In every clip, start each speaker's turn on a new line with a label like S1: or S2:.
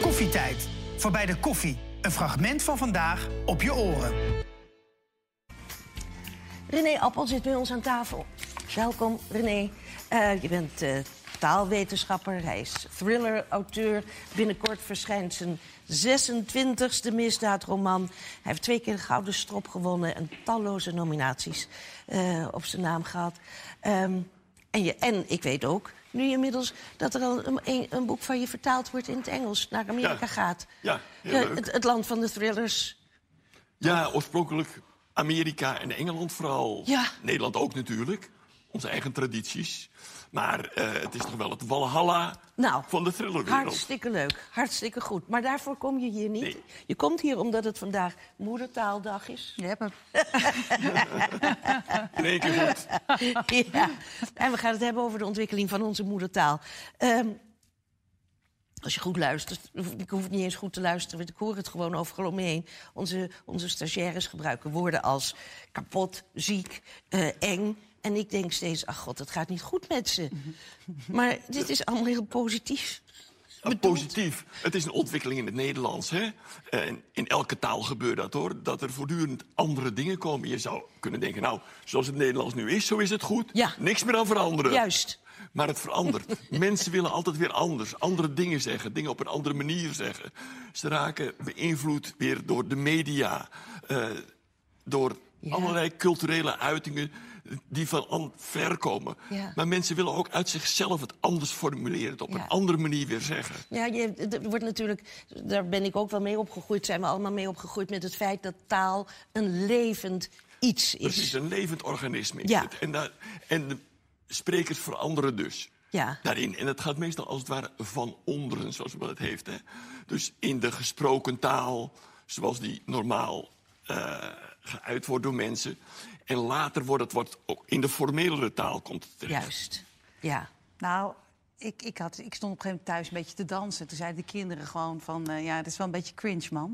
S1: Koffietijd. Voorbij de koffie. Een fragment van vandaag op je oren.
S2: René Appel zit bij ons aan tafel. Welkom, René. Eh, je bent eh, taalwetenschapper, hij is thriller-auteur. Binnenkort verschijnt zijn 26e misdaadroman. Hij heeft twee keer een gouden strop gewonnen en talloze nominaties eh, op zijn naam gehad. Ehm, en, je, en ik weet ook nu inmiddels dat er al een, een, een boek van je vertaald wordt in het Engels, naar Amerika
S3: Ja.
S2: gaat.
S3: Ja, heel
S2: Eh,
S3: leuk.
S2: het, het land van de thrillers.
S3: Ja, oorspronkelijk Amerika en Engeland vooral.
S2: Ja.
S3: Nederland ook natuurlijk. Onze eigen tradities. Maar eh, het is toch wel het walhalla
S2: Nou,
S3: van de thrillerwereld.
S2: Hartstikke leuk, hartstikke goed. Maar daarvoor kom je hier niet.
S3: Nee.
S2: Je komt hier omdat het vandaag moedertaaldag is.
S4: Je hebt hem.
S3: In één keer goed.
S2: ja. En we gaan het hebben over de ontwikkeling van onze moedertaal. Ehm, als je goed luistert, hoef- ik hoef niet eens goed te luisteren, want ik hoor het gewoon overal om me heen. Onze, onze stagiaires gebruiken woorden als kapot, ziek, eh, eng. En ik denk steeds, ach god, het gaat niet goed met ze. Maar dit is allemaal heel positief.
S3: Maar Positief. Het is een ontwikkeling in het Nederlands. Hè? Eh, En in elke taal gebeurt dat hoor. Dat er voortdurend andere dingen komen. Je zou kunnen denken, nou, zoals het Nederlands nu is, zo is het goed.
S2: Ja.
S3: Niks meer aan veranderen.
S2: Juist.
S3: Maar het verandert. Mensen willen altijd weer anders. Andere dingen zeggen. Dingen op een andere manier zeggen. Ze raken beïnvloed weer door de media. eh, door allerlei culturele uitingen die van an- ver komen.
S2: Ja.
S3: Maar mensen willen ook uit zichzelf het anders formuleren. Het op
S4: Ja.
S3: een andere manier weer zeggen.
S2: Ja, je, het wordt natuurlijk, daar ben ik ook wel mee opgegroeid, zijn we allemaal mee opgegroeid met het feit dat taal een levend iets
S3: Het is
S2: is.
S3: een levend organisme. is
S2: Ja.
S3: het. En, daar, en de sprekers veranderen dus
S2: Ja.
S3: daarin. En het gaat meestal als het ware van onderen, zoals men het heeft. Hè? Dus in de gesproken taal, zoals die normaal eh, geuit wordt door mensen. En later wordt het wat, ook in de formelere taal komt het terecht.
S2: Juist. Ja.
S4: Nou, ik, ik, had, ik stond op een gegeven moment thuis een beetje te dansen. Toen zeiden de kinderen gewoon van, eh, ja, het is wel een beetje cringe, man.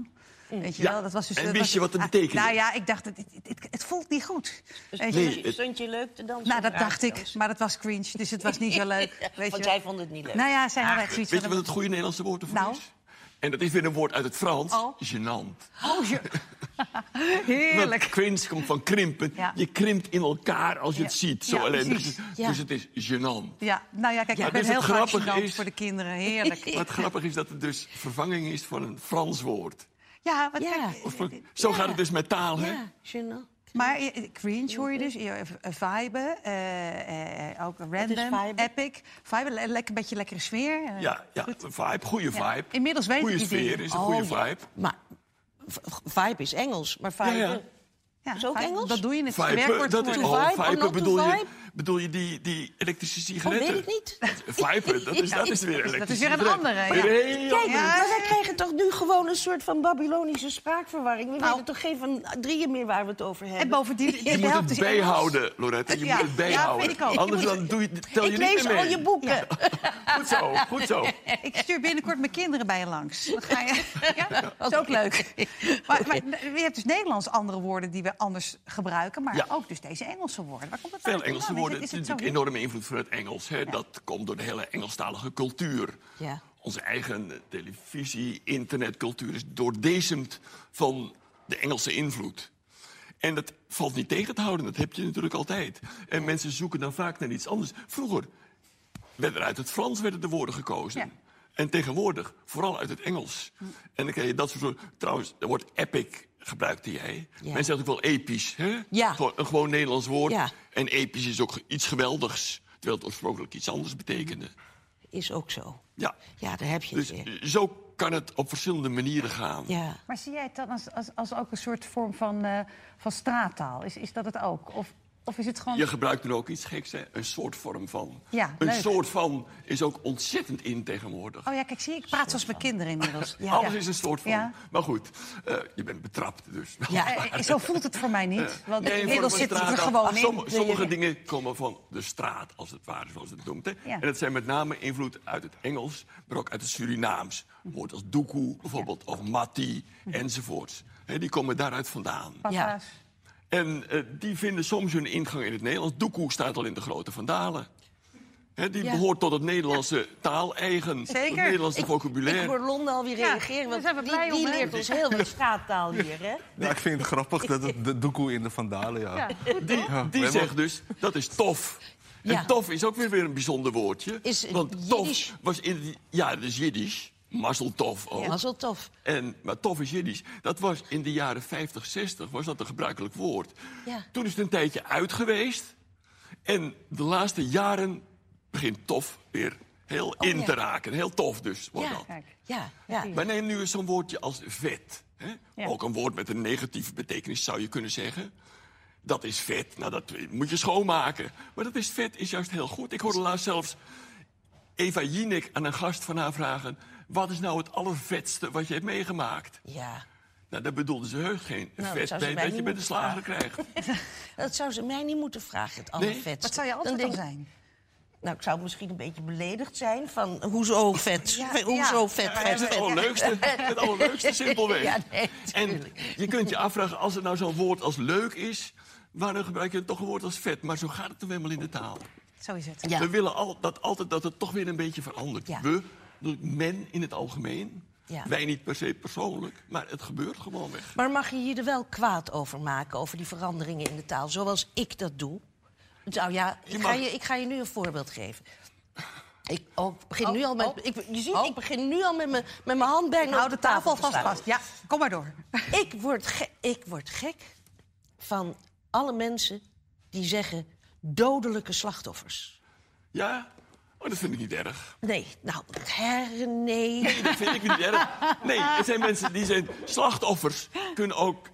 S2: Mm.
S4: Weet je
S3: Ja,
S4: wel, dat was dus...
S3: en
S4: dat
S3: wist
S4: was-
S3: je wat het
S4: Ah,
S3: betekende?
S4: Nou ja, ik dacht, het, het, het, het voelt niet goed.
S2: Dus
S4: Weet je?
S3: Nee, het-
S2: Stond je leuk te dansen?
S4: Nou,
S2: op
S4: dat
S2: de
S4: dacht ik,
S2: radio's?
S4: maar dat was cringe, dus het was niet zo leuk. Weet
S2: Want
S4: je?
S2: jij vond het niet leuk.
S4: Nou ja, zij hadden echt
S3: Ah, Weet
S4: zoiets
S3: je wat
S4: van...
S3: het goede Nederlandse woord ervoor
S4: Nou?
S3: is? En dat is weer een woord uit het Frans.
S4: Oh.
S3: Genant.
S4: Oh, je... Heerlijk.
S3: Want cringe komt van krimpen.
S4: Ja.
S3: Je krimpt in elkaar als je
S4: Ja.
S3: het ziet. Zo
S4: Ja,
S3: ellendig.
S4: precies.
S3: Dus-
S2: Ja.
S3: Dus het is gênant.
S4: Ja, nou ja, kijk,
S3: Maar
S4: ik ben
S3: dus het
S4: heel graag
S3: grappige
S4: gênant
S3: is-
S4: voor de kinderen. Heerlijk.
S3: Maar het grappige is dat het dus vervanging is van een Frans woord.
S4: Ja, wat
S2: Ja.
S3: Oorspronkelijk- Zo gaat het dus met taal, hè?
S2: Ja, gênant.
S4: Maar je- cringe hoor je dus, je- eh, vibe, eh, eh, ook random,
S2: vibe?
S4: epic. Vibe, le- lekker, beetje lekkere sfeer. eh.
S3: Ja, ja een vibe, goede
S4: Ja.
S3: vibe.
S4: Inmiddels weet
S3: Goede
S4: ik die
S3: sfeer
S4: dingen.
S3: is een goede
S2: Oh, ja.
S3: vibe.
S2: Maar v- v- vibe is Engels, maar vibe...
S3: Ja, ja.
S4: Ja,
S2: Is ook
S4: vibe,
S2: Engels?
S4: Dat doe je het is een
S3: Vibe,
S4: werkwoord
S3: dat is
S4: geworden.
S2: To
S3: oh,
S2: vibe,
S3: vibe,
S2: oh, not to
S3: bedoel, je,
S2: vibe?
S3: bedoel je die, die elektrische
S2: Oh, weet
S3: sigaretten?
S2: ik niet.
S3: Vibe, dat is, dat is weer elektrisch.
S4: dat is weer een andere, ja.
S2: Kijk,
S4: Ja.
S2: maar wij krijgen toch nu gewoon een soort van Babylonische spraakverwarring. We
S4: Nou.
S2: weten toch geen van drieën meer waar we het over hebben.
S4: En bovendien,
S3: Je
S4: dus de
S3: moet
S4: helft
S3: het
S4: is Engels.
S3: bijhouden, Lorette. Je
S4: Ja,
S3: moet het
S4: ja,
S3: bijhouden.
S4: vind ik ook.
S3: Anders
S4: Je moet-
S3: dan doe je, tel je
S2: ik
S3: niet
S2: lees
S3: meer mee.
S2: al je boeken.
S3: Goed zo, goed zo.
S4: Ik stuur binnenkort mijn kinderen bij je langs. Wat ga je? Ja, dat is ook leuk. Maar, maar je hebt dus Nederlands andere woorden die we anders gebruiken, maar
S3: Ja.
S4: ook dus deze Engelse woorden. Waar komt dat
S3: Veel
S4: uit
S3: Engelse
S4: vandaan?
S3: woorden.
S4: Is
S3: Het is
S4: het, is het
S3: natuurlijk
S4: zo?
S3: enorme invloed van het Engels. Hè? Dat komt door de hele Engelstalige cultuur.
S2: Ja.
S3: Onze eigen eh, televisie, internetcultuur is doordezemd van de Engelse invloed. En dat valt niet tegen te houden, dat heb je natuurlijk altijd. En mensen zoeken dan vaak naar iets anders. Vroeger werd er uit het Frans werden de woorden gekozen.
S4: Ja.
S3: En tegenwoordig vooral uit het Engels. En dan krijg je dat soort woorden. Trouwens, het woord epic gebruikte jij.
S2: Ja.
S3: Mensen zeggen ook wel episch, hè?
S2: Ja.
S3: Gewoon een gewoon Nederlands woord.
S2: Ja.
S3: En episch is ook iets geweldigs. Terwijl het oorspronkelijk iets anders betekende.
S2: Is ook zo.
S3: Ja.
S2: Ja, daar heb je het
S3: Dus
S2: weer.
S3: eh, zo kan het op verschillende manieren gaan.
S2: Ja.
S5: Maar zie jij het dan als, als, als ook een soort vorm van, eh, van straattaal? Is, is dat het ook? Of, of is het gewoon...
S3: Je gebruikt er ook iets geks, hè? Een soort vorm van.
S5: Ja,
S3: een
S5: leuk.
S3: soort van is ook ontzettend in tegenwoordig.
S4: Oh ja, kijk, zie je, ik praat zoals mijn kinderen inmiddels. Ja.
S3: Alles is een soort van.
S5: Ja.
S3: Maar goed, eh, je bent betrapt dus.
S5: Eh, eh, zo voelt het voor mij niet. Want
S3: Eh, Nee,
S5: inmiddels
S3: voor de
S5: zit het er
S3: straat-
S5: gewoon in.
S3: Somm-
S5: Nee,
S3: sommige
S5: je-
S3: dingen komen van de straat, als het ware, zoals het noemt. Hè?
S5: Ja.
S3: En dat zijn met name invloed uit het Engels, maar ook uit het Surinaams. Woord als doekoe bijvoorbeeld, of matti, enzovoorts. Hè, die komen daaruit vandaan.
S5: Papa's.
S3: En eh, die vinden soms hun ingang in het Nederlands. Doekoe staat al in de grote vandalen. Hè, die
S2: Ja.
S3: behoort tot het Nederlandse taaleigen, het
S4: Zeker.
S3: Nederlandse vocabulaire.
S2: Ik hoor Londen alweer
S4: Ja,
S2: reageren, want
S4: daar zijn we
S2: die,
S4: blij
S2: die
S4: om, hè?
S2: leert ons heel wat straattaal hier, hè?
S6: Ja, ik vind het grappig dat het de doekoe in de vandalen, ja.
S3: Die, die
S6: hebben-
S3: zegt dus, dat is tof.
S2: Ja.
S3: En tof is ook weer, weer een bijzonder woordje.
S2: Is het
S3: want tof
S2: Jiddisch?
S3: was in... die- Ja, dat is Jiddisch. Mazzeltof ook.
S2: Dat was Oh, wel tof.
S3: En, maar tof is Jiddisch. Dat was in de jaren 50, 60 was dat een gebruikelijk woord.
S2: Ja.
S3: Toen is het een tijdje uit geweest. En de laatste jaren begint tof weer heel in
S2: Oh, ja.
S3: te raken. Heel tof dus wordt
S2: Ja,
S3: dat.
S2: ja, ja.
S3: Maar neem nu eens zo'n woordje als vet. Hè?
S5: Ja.
S3: Ook een woord met een negatieve betekenis zou je kunnen zeggen. Dat is vet. Nou, dat moet je schoonmaken. Maar dat is vet is juist heel goed. Ik hoorde laatst zelfs Eva Jinek aan een gast van haar vragen... wat is nou het allervetste wat je hebt meegemaakt?
S2: ja.
S3: Nou, daar bedoelde ze heus geen
S2: Nou, dat
S3: vet
S2: zou ze
S3: bij
S2: mij
S3: dat je
S2: niet
S3: bij de slager krijgt.
S2: Dat zou ze mij niet moeten vragen, het allervetste.
S4: Wat zou je
S2: Dan
S4: antwoord dan
S2: denk ik,
S4: zijn?
S2: Nou, ik zou misschien een beetje beledigd zijn van hoezo vet, hoezo
S4: ja.
S2: vet,
S3: Ja,
S2: vet,
S3: het
S2: vet.
S3: allerleukste, het allerleukste simpelweg.
S2: Ja, nee,
S3: en je kunt je afvragen, als er nou zo'n woord als leuk is... waarom gebruik je toch een woord als vet? Maar zo gaat het toch helemaal in de taal.
S4: Zo is het.
S2: Ja.
S3: We willen al, dat altijd dat het toch weer een beetje verandert.
S2: Ja.
S3: We, bedoel ik, men in het algemeen.
S2: Ja.
S3: Wij niet per se persoonlijk, maar het gebeurt gewoon weg.
S2: Maar mag je je er wel kwaad over maken, over die veranderingen in de taal, zoals ik dat doe? Nou ja,
S3: Je
S2: ik, ga
S3: mag-
S2: je, ik ga je nu een voorbeeld geven. Ik oh, ik begin nu al met,
S4: oh.
S2: ik, je ziet,
S4: Oh.
S2: ik begin nu al met mijn met mijn hand bijna
S4: Hou
S2: op
S4: de tafel vast
S2: te slaan.
S4: vast. Ja, kom maar door.
S2: Ik word, ge- ik word gek van alle mensen die zeggen dodelijke slachtoffers.
S3: Ja? Oh, dat vind ik niet erg.
S2: Nee, nou, her, nee.
S3: Nee, dat vind ik niet erg. Nee, er zijn mensen die zijn slachtoffers, kunnen ook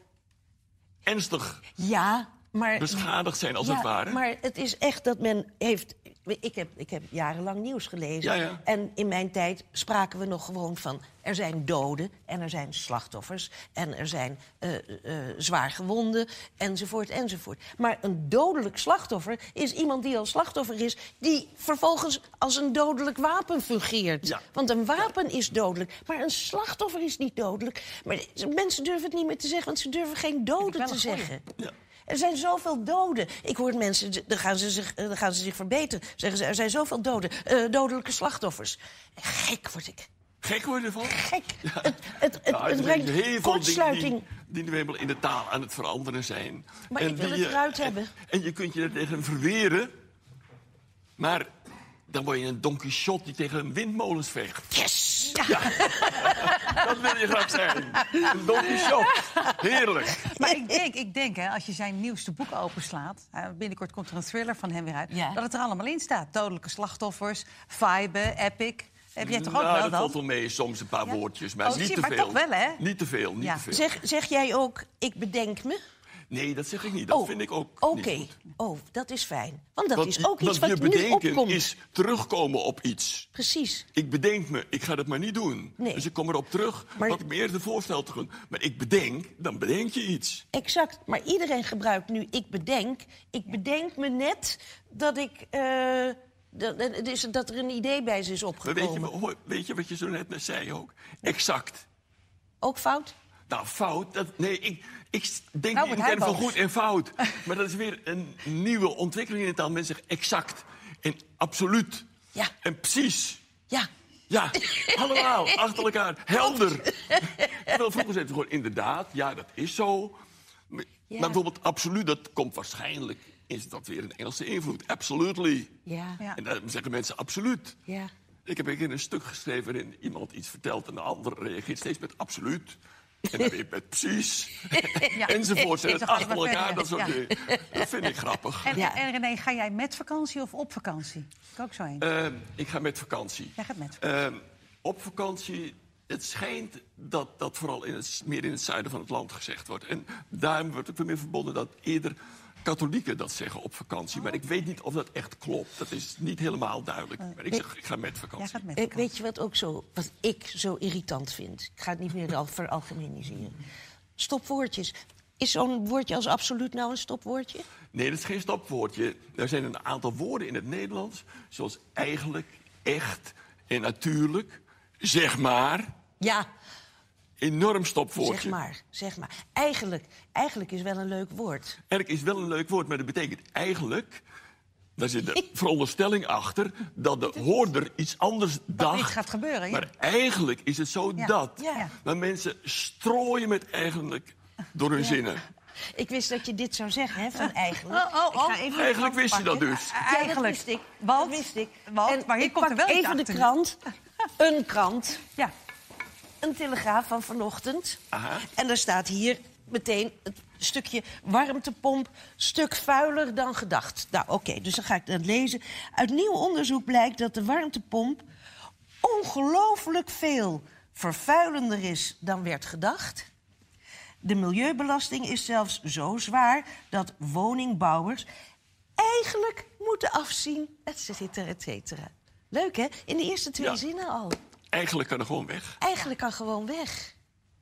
S3: ernstig
S2: Ja, maar...
S3: beschadigd zijn, als
S2: ja,
S3: het ware.
S2: maar het is echt dat men heeft... Ik heb, ik heb jarenlang nieuws gelezen.
S3: Ja, ja.
S2: En in mijn tijd spraken we nog gewoon van... er zijn doden en er zijn slachtoffers... en er zijn eh eh, zwaar gewonden, enzovoort, enzovoort. Maar een dodelijk slachtoffer is iemand die al slachtoffer is... die vervolgens als een dodelijk wapen fungeert.
S3: Ja.
S2: Want een wapen is dodelijk, maar een slachtoffer is niet dodelijk. Maar mensen durven het niet meer te zeggen, want ze durven geen doden te zeggen.
S3: Ja.
S2: Er zijn zoveel doden. Ik hoor mensen, d- dan gaan ze zich, eh, dan gaan ze zich verbeteren. Zeggen ze, er zijn zoveel doden, eh, dodelijke slachtoffers. Gek word ik.
S3: Gek worden ervan.
S2: Gek. Het, het, het,
S3: Ja,
S2: het
S3: Nou, er zijn heel
S2: brengt
S3: veel
S2: kortsluiting.
S3: Dingen die, die nu eenmaal in de taal aan het veranderen zijn.
S2: Maar ik wil
S3: die
S2: het
S3: je-
S2: eruit hebben.
S3: En je kunt je er tegen verweren. Maar dan word je een Don Quixote die tegen een windmolens vecht.
S2: Yes!
S3: Dat wil je graag zijn. Een Don Quixote. Heerlijk.
S4: Maar ik denk, ik denk hè, als je zijn nieuwste boek openslaat... eh, binnenkort komt er een thriller van hem weer uit...
S2: Ja.
S4: dat het er allemaal in staat. Dodelijke slachtoffers, vibe, epic. Heb jij toch ook
S3: Nou,
S4: wel
S3: dat
S4: dat?
S3: valt wel mee, soms een paar
S4: Ja.
S3: woordjes, maar
S4: Oh,
S3: niet
S4: zie
S3: te
S4: je, maar
S3: veel.
S4: toch wel, hè?
S3: Niet te veel, niet
S4: Ja.
S3: te veel.
S2: Zeg, zeg jij ook, ik bedenk me? Oh,
S3: Nee, dat zeg ik niet. Dat vind ik ook
S2: Oké,
S3: niet goed.
S2: oh, dat is fijn. Want dat
S3: Want
S2: is
S3: je-
S2: ook iets
S3: want
S2: wat
S3: je bedenken
S2: nu opkomt.
S3: is terugkomen op iets.
S2: Precies.
S3: Ik bedenk me, ik ga dat maar niet doen.
S2: Nee.
S3: Dus ik kom erop terug,
S2: Maar-
S3: wat ik me eerder voorstelde. te doen. Maar ik bedenk, dan bedenk je iets.
S2: Exact, maar iedereen gebruikt nu ik bedenk. Ik bedenk me net dat ik. eh, dat, dat- het is- dat er een idee bij ze is
S3: Maar
S2: opgekomen.
S3: weet je, hoor, weet je wat je zo net net zei ook? Exact.
S2: Ook fout?
S3: Nou, fout, dat, nee, ik, ik denk
S4: Nou,
S3: niet
S4: wordt hij
S3: in van
S4: boos.
S3: goed en fout. maar dat is weer een nieuwe ontwikkeling in de taal. Mensen zeggen exact en absoluut
S2: Ja.
S3: en precies.
S2: Ja.
S3: Ja, allemaal, achter elkaar, helder. Terwijl vroeger zeiden ze gewoon inderdaad, ja, dat is zo. Maar, maar bijvoorbeeld absoluut, dat komt waarschijnlijk... is dat weer een Engelse invloed, absolutely.
S2: Ja.
S4: Ja.
S3: En dan zeggen mensen absoluut.
S2: Ja.
S3: Ik heb een keer een stuk geschreven waarin iemand iets vertelt... en de ander reageert steeds met absoluut. En dan weer met precies.
S4: Ja.
S3: Enzovoort. En
S4: Is
S3: het
S4: toch
S3: achter
S4: allemaal
S3: elkaar,
S4: verder,
S3: dat soort
S4: ja.
S3: dingen. Dat vind ik grappig.
S4: En,
S2: Ja.
S4: en René, ga jij met vakantie of op vakantie? Ik ook zo heen.
S3: Ehm, ik ga met vakantie.
S4: Jij gaat met
S3: Ehm, op vakantie. Het schijnt dat dat vooral in het, meer in het zuiden van het land gezegd wordt. En daarom wordt ook weer meer verbonden dat eerder katholieken dat zeggen op vakantie. Maar ik weet niet of dat echt klopt. Dat is niet helemaal duidelijk. Maar ik zeg, ik ga met
S4: Eh, Jij
S3: vakantie.
S4: gaat met
S2: Eh,
S4: vakantie.
S2: weet je wat ook zo, wat ik zo irritant vind? Ik ga het niet meer al veralgemeniseren. Stopwoordjes. Is zo'n woordje als absoluut nou een stopwoordje?
S3: Nee, dat is geen stopwoordje. Er zijn een aantal woorden in het Nederlands, zoals eigenlijk, echt en natuurlijk. Zeg maar,
S2: Ja,
S3: enorm stopwoordje.
S2: zeg maar, zeg maar. Eigenlijk, eigenlijk is wel een leuk woord.
S3: Erk is wel een leuk woord, maar dat betekent eigenlijk Daar zit de veronderstelling achter dat de hoorder iets anders dacht.
S4: iets gaat gebeuren, ja.
S3: Maar eigenlijk is het zo
S4: Ja,
S3: dat.
S2: ja.
S3: Maar mensen strooien met eigenlijk door hun zinnen.
S2: Ik wist dat je dit zou zeggen, hè, van eigenlijk.
S4: Oh, oh, oh.
S2: Ik ga even de
S3: Eigenlijk
S2: krant
S3: wist je dat
S2: pakken.
S3: dus.
S2: Ja,
S4: Eigenlijk.
S2: dat wist ik.
S4: Want-
S2: dat wist ik.
S4: want-
S2: En
S4: maar hier
S2: ik
S4: komt er
S2: pak
S4: wel iets
S2: even de
S4: achter.
S2: krant. Een krant.
S4: Ja.
S2: Een telegraaf van vanochtend.
S3: Aha.
S2: En daar staat hier meteen het stukje warmtepomp, stuk vuiler dan gedacht. Nou, oké, dus dan ga ik dat lezen. Uit nieuw onderzoek blijkt dat de warmtepomp ongelooflijk veel vervuilender is dan werd gedacht. De milieubelasting is zelfs zo zwaar dat woningbouwers eigenlijk moeten afzien, et cetera, et cetera. Leuk, hè? In de eerste twee
S3: Ja.
S2: zinnen al.
S3: Eigenlijk kan er gewoon weg.
S2: Eigenlijk kan gewoon weg.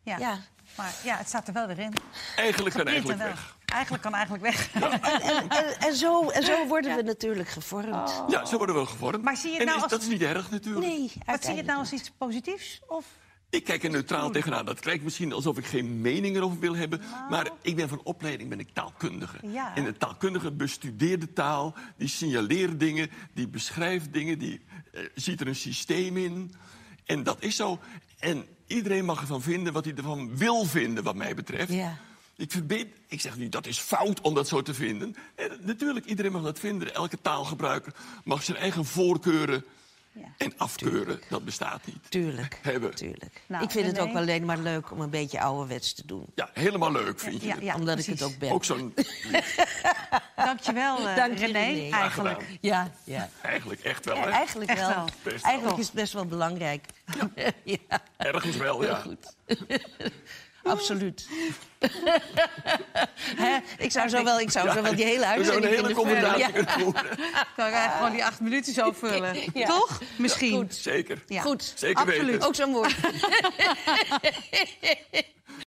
S4: Ja.
S2: Ja.
S4: Maar ja, het staat er wel weer in.
S3: Eigenlijk kan eigenlijk
S4: Inderdaad.
S3: weg.
S4: Eigenlijk kan eigenlijk weg.
S2: En, en, en, en zo, en zo worden we natuurlijk gevormd.
S3: Ja, zo worden we gevormd.
S4: Maar zie je het
S3: en
S4: nou
S3: is-
S4: als-
S3: dat is niet erg natuurlijk.
S2: Nee,
S4: Oh. Wat zie je het
S2: uiteindelijk.
S4: nou als iets positiefs? Of
S3: Ik kijk er neutraal tegenaan. Dat klinkt misschien alsof ik geen mening erover wil hebben. Maar ik ben van opleiding ben ik taalkundige.
S4: Nou. Ja.
S3: En de taalkundige bestudeert de taal. Die signaleert dingen, die beschrijft dingen, die eh, ziet er een systeem in. En dat is zo. En iedereen mag ervan vinden wat hij ervan wil vinden, wat mij betreft.
S2: Ja.
S3: Ik, verbind, ik zeg niet dat is fout om dat zo te vinden. Eh, natuurlijk, iedereen mag dat vinden. Elke taalgebruiker mag zijn eigen voorkeuren
S4: Ja.
S3: en afkeuren. Dat bestaat niet.
S2: Tuurlijk,
S3: Hebben.
S2: tuurlijk.
S4: Nou,
S2: ik vind het
S4: René.
S2: ook alleen maar leuk om een beetje ouderwets te doen.
S3: Ja, helemaal leuk, vind je.
S4: Ja,
S3: het?
S4: ja.
S2: Omdat ik het
S4: precies.
S2: ook ben.
S3: Ook zo'n...
S4: dankjewel, eh
S2: Dank je,
S4: René.
S2: René.
S4: Eigenlijk.
S3: gedaan.
S2: Ja, ja.
S3: Eigenlijk echt wel,
S2: Ja,
S3: hè?
S2: eigenlijk
S4: Echt
S2: wel.
S4: wel. Mm.
S3: Best
S2: Eigenlijk
S3: wel.
S2: is het best wel belangrijk. Ja,
S3: Ergens wel, ja.
S2: absoluut. Hè? Ik zou zo wel, ik zou zo wel die hele
S3: We zouden
S2: uitzending
S3: een
S2: kunnen vullen.
S3: hele commentaar
S2: Ja,
S3: kunnen voeren.
S4: Kan ik eigenlijk eh, gewoon die acht minuten zo vullen? Toch? Misschien.
S3: Zeker.
S4: Ja.
S2: Goed,
S3: Zeker
S4: Absoluut.
S3: weten.
S2: ook zo'n woord.